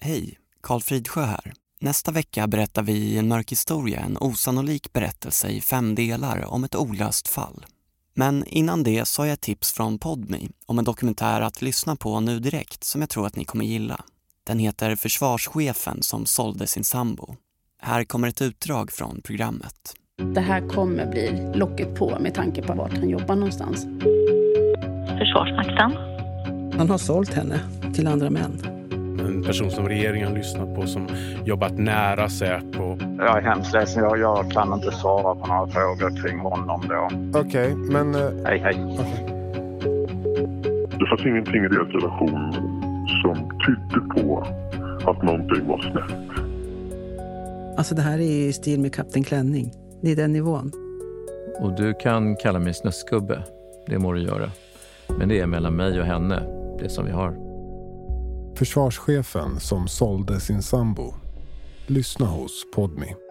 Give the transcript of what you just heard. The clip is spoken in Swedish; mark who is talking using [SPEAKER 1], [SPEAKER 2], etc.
[SPEAKER 1] Hej, Karl Fridsjö här. Nästa vecka berättar vi i En mörk historia en osannolik berättelse i fem delar om ett olöst fall. Men innan det så har jag ett tips från Podmi om en dokumentär att lyssna på nu direkt som jag tror att ni kommer gilla. Den heter Försvarschefen som sålde sin sambo. Här kommer ett utdrag från programmet.
[SPEAKER 2] Det här kommer bli locket på med tanke på vart han jobbar någonstans.
[SPEAKER 3] Försvarsmakten.
[SPEAKER 4] Han har sålt henne till andra män.
[SPEAKER 5] En person som regeringen har lyssnat på som jobbat nära Säpo.
[SPEAKER 6] Jag är hemskt ledsen, jag, jag kan inte svara på några frågor kring honom då.
[SPEAKER 7] Okej, men... eh,
[SPEAKER 6] Hej, hej.
[SPEAKER 8] Det fanns ingenting i deras relation som tydde på att någonting var snett.
[SPEAKER 4] Alltså det här är i stil med Kapten Klänning. Det är den nivån.
[SPEAKER 9] Och du kan kalla mig snöskubbe. Det må du göra. Men det är mellan mig och henne, det som vi har.
[SPEAKER 7] Försvarschefen som sålde sin sambo. Lyssna hos Podmi.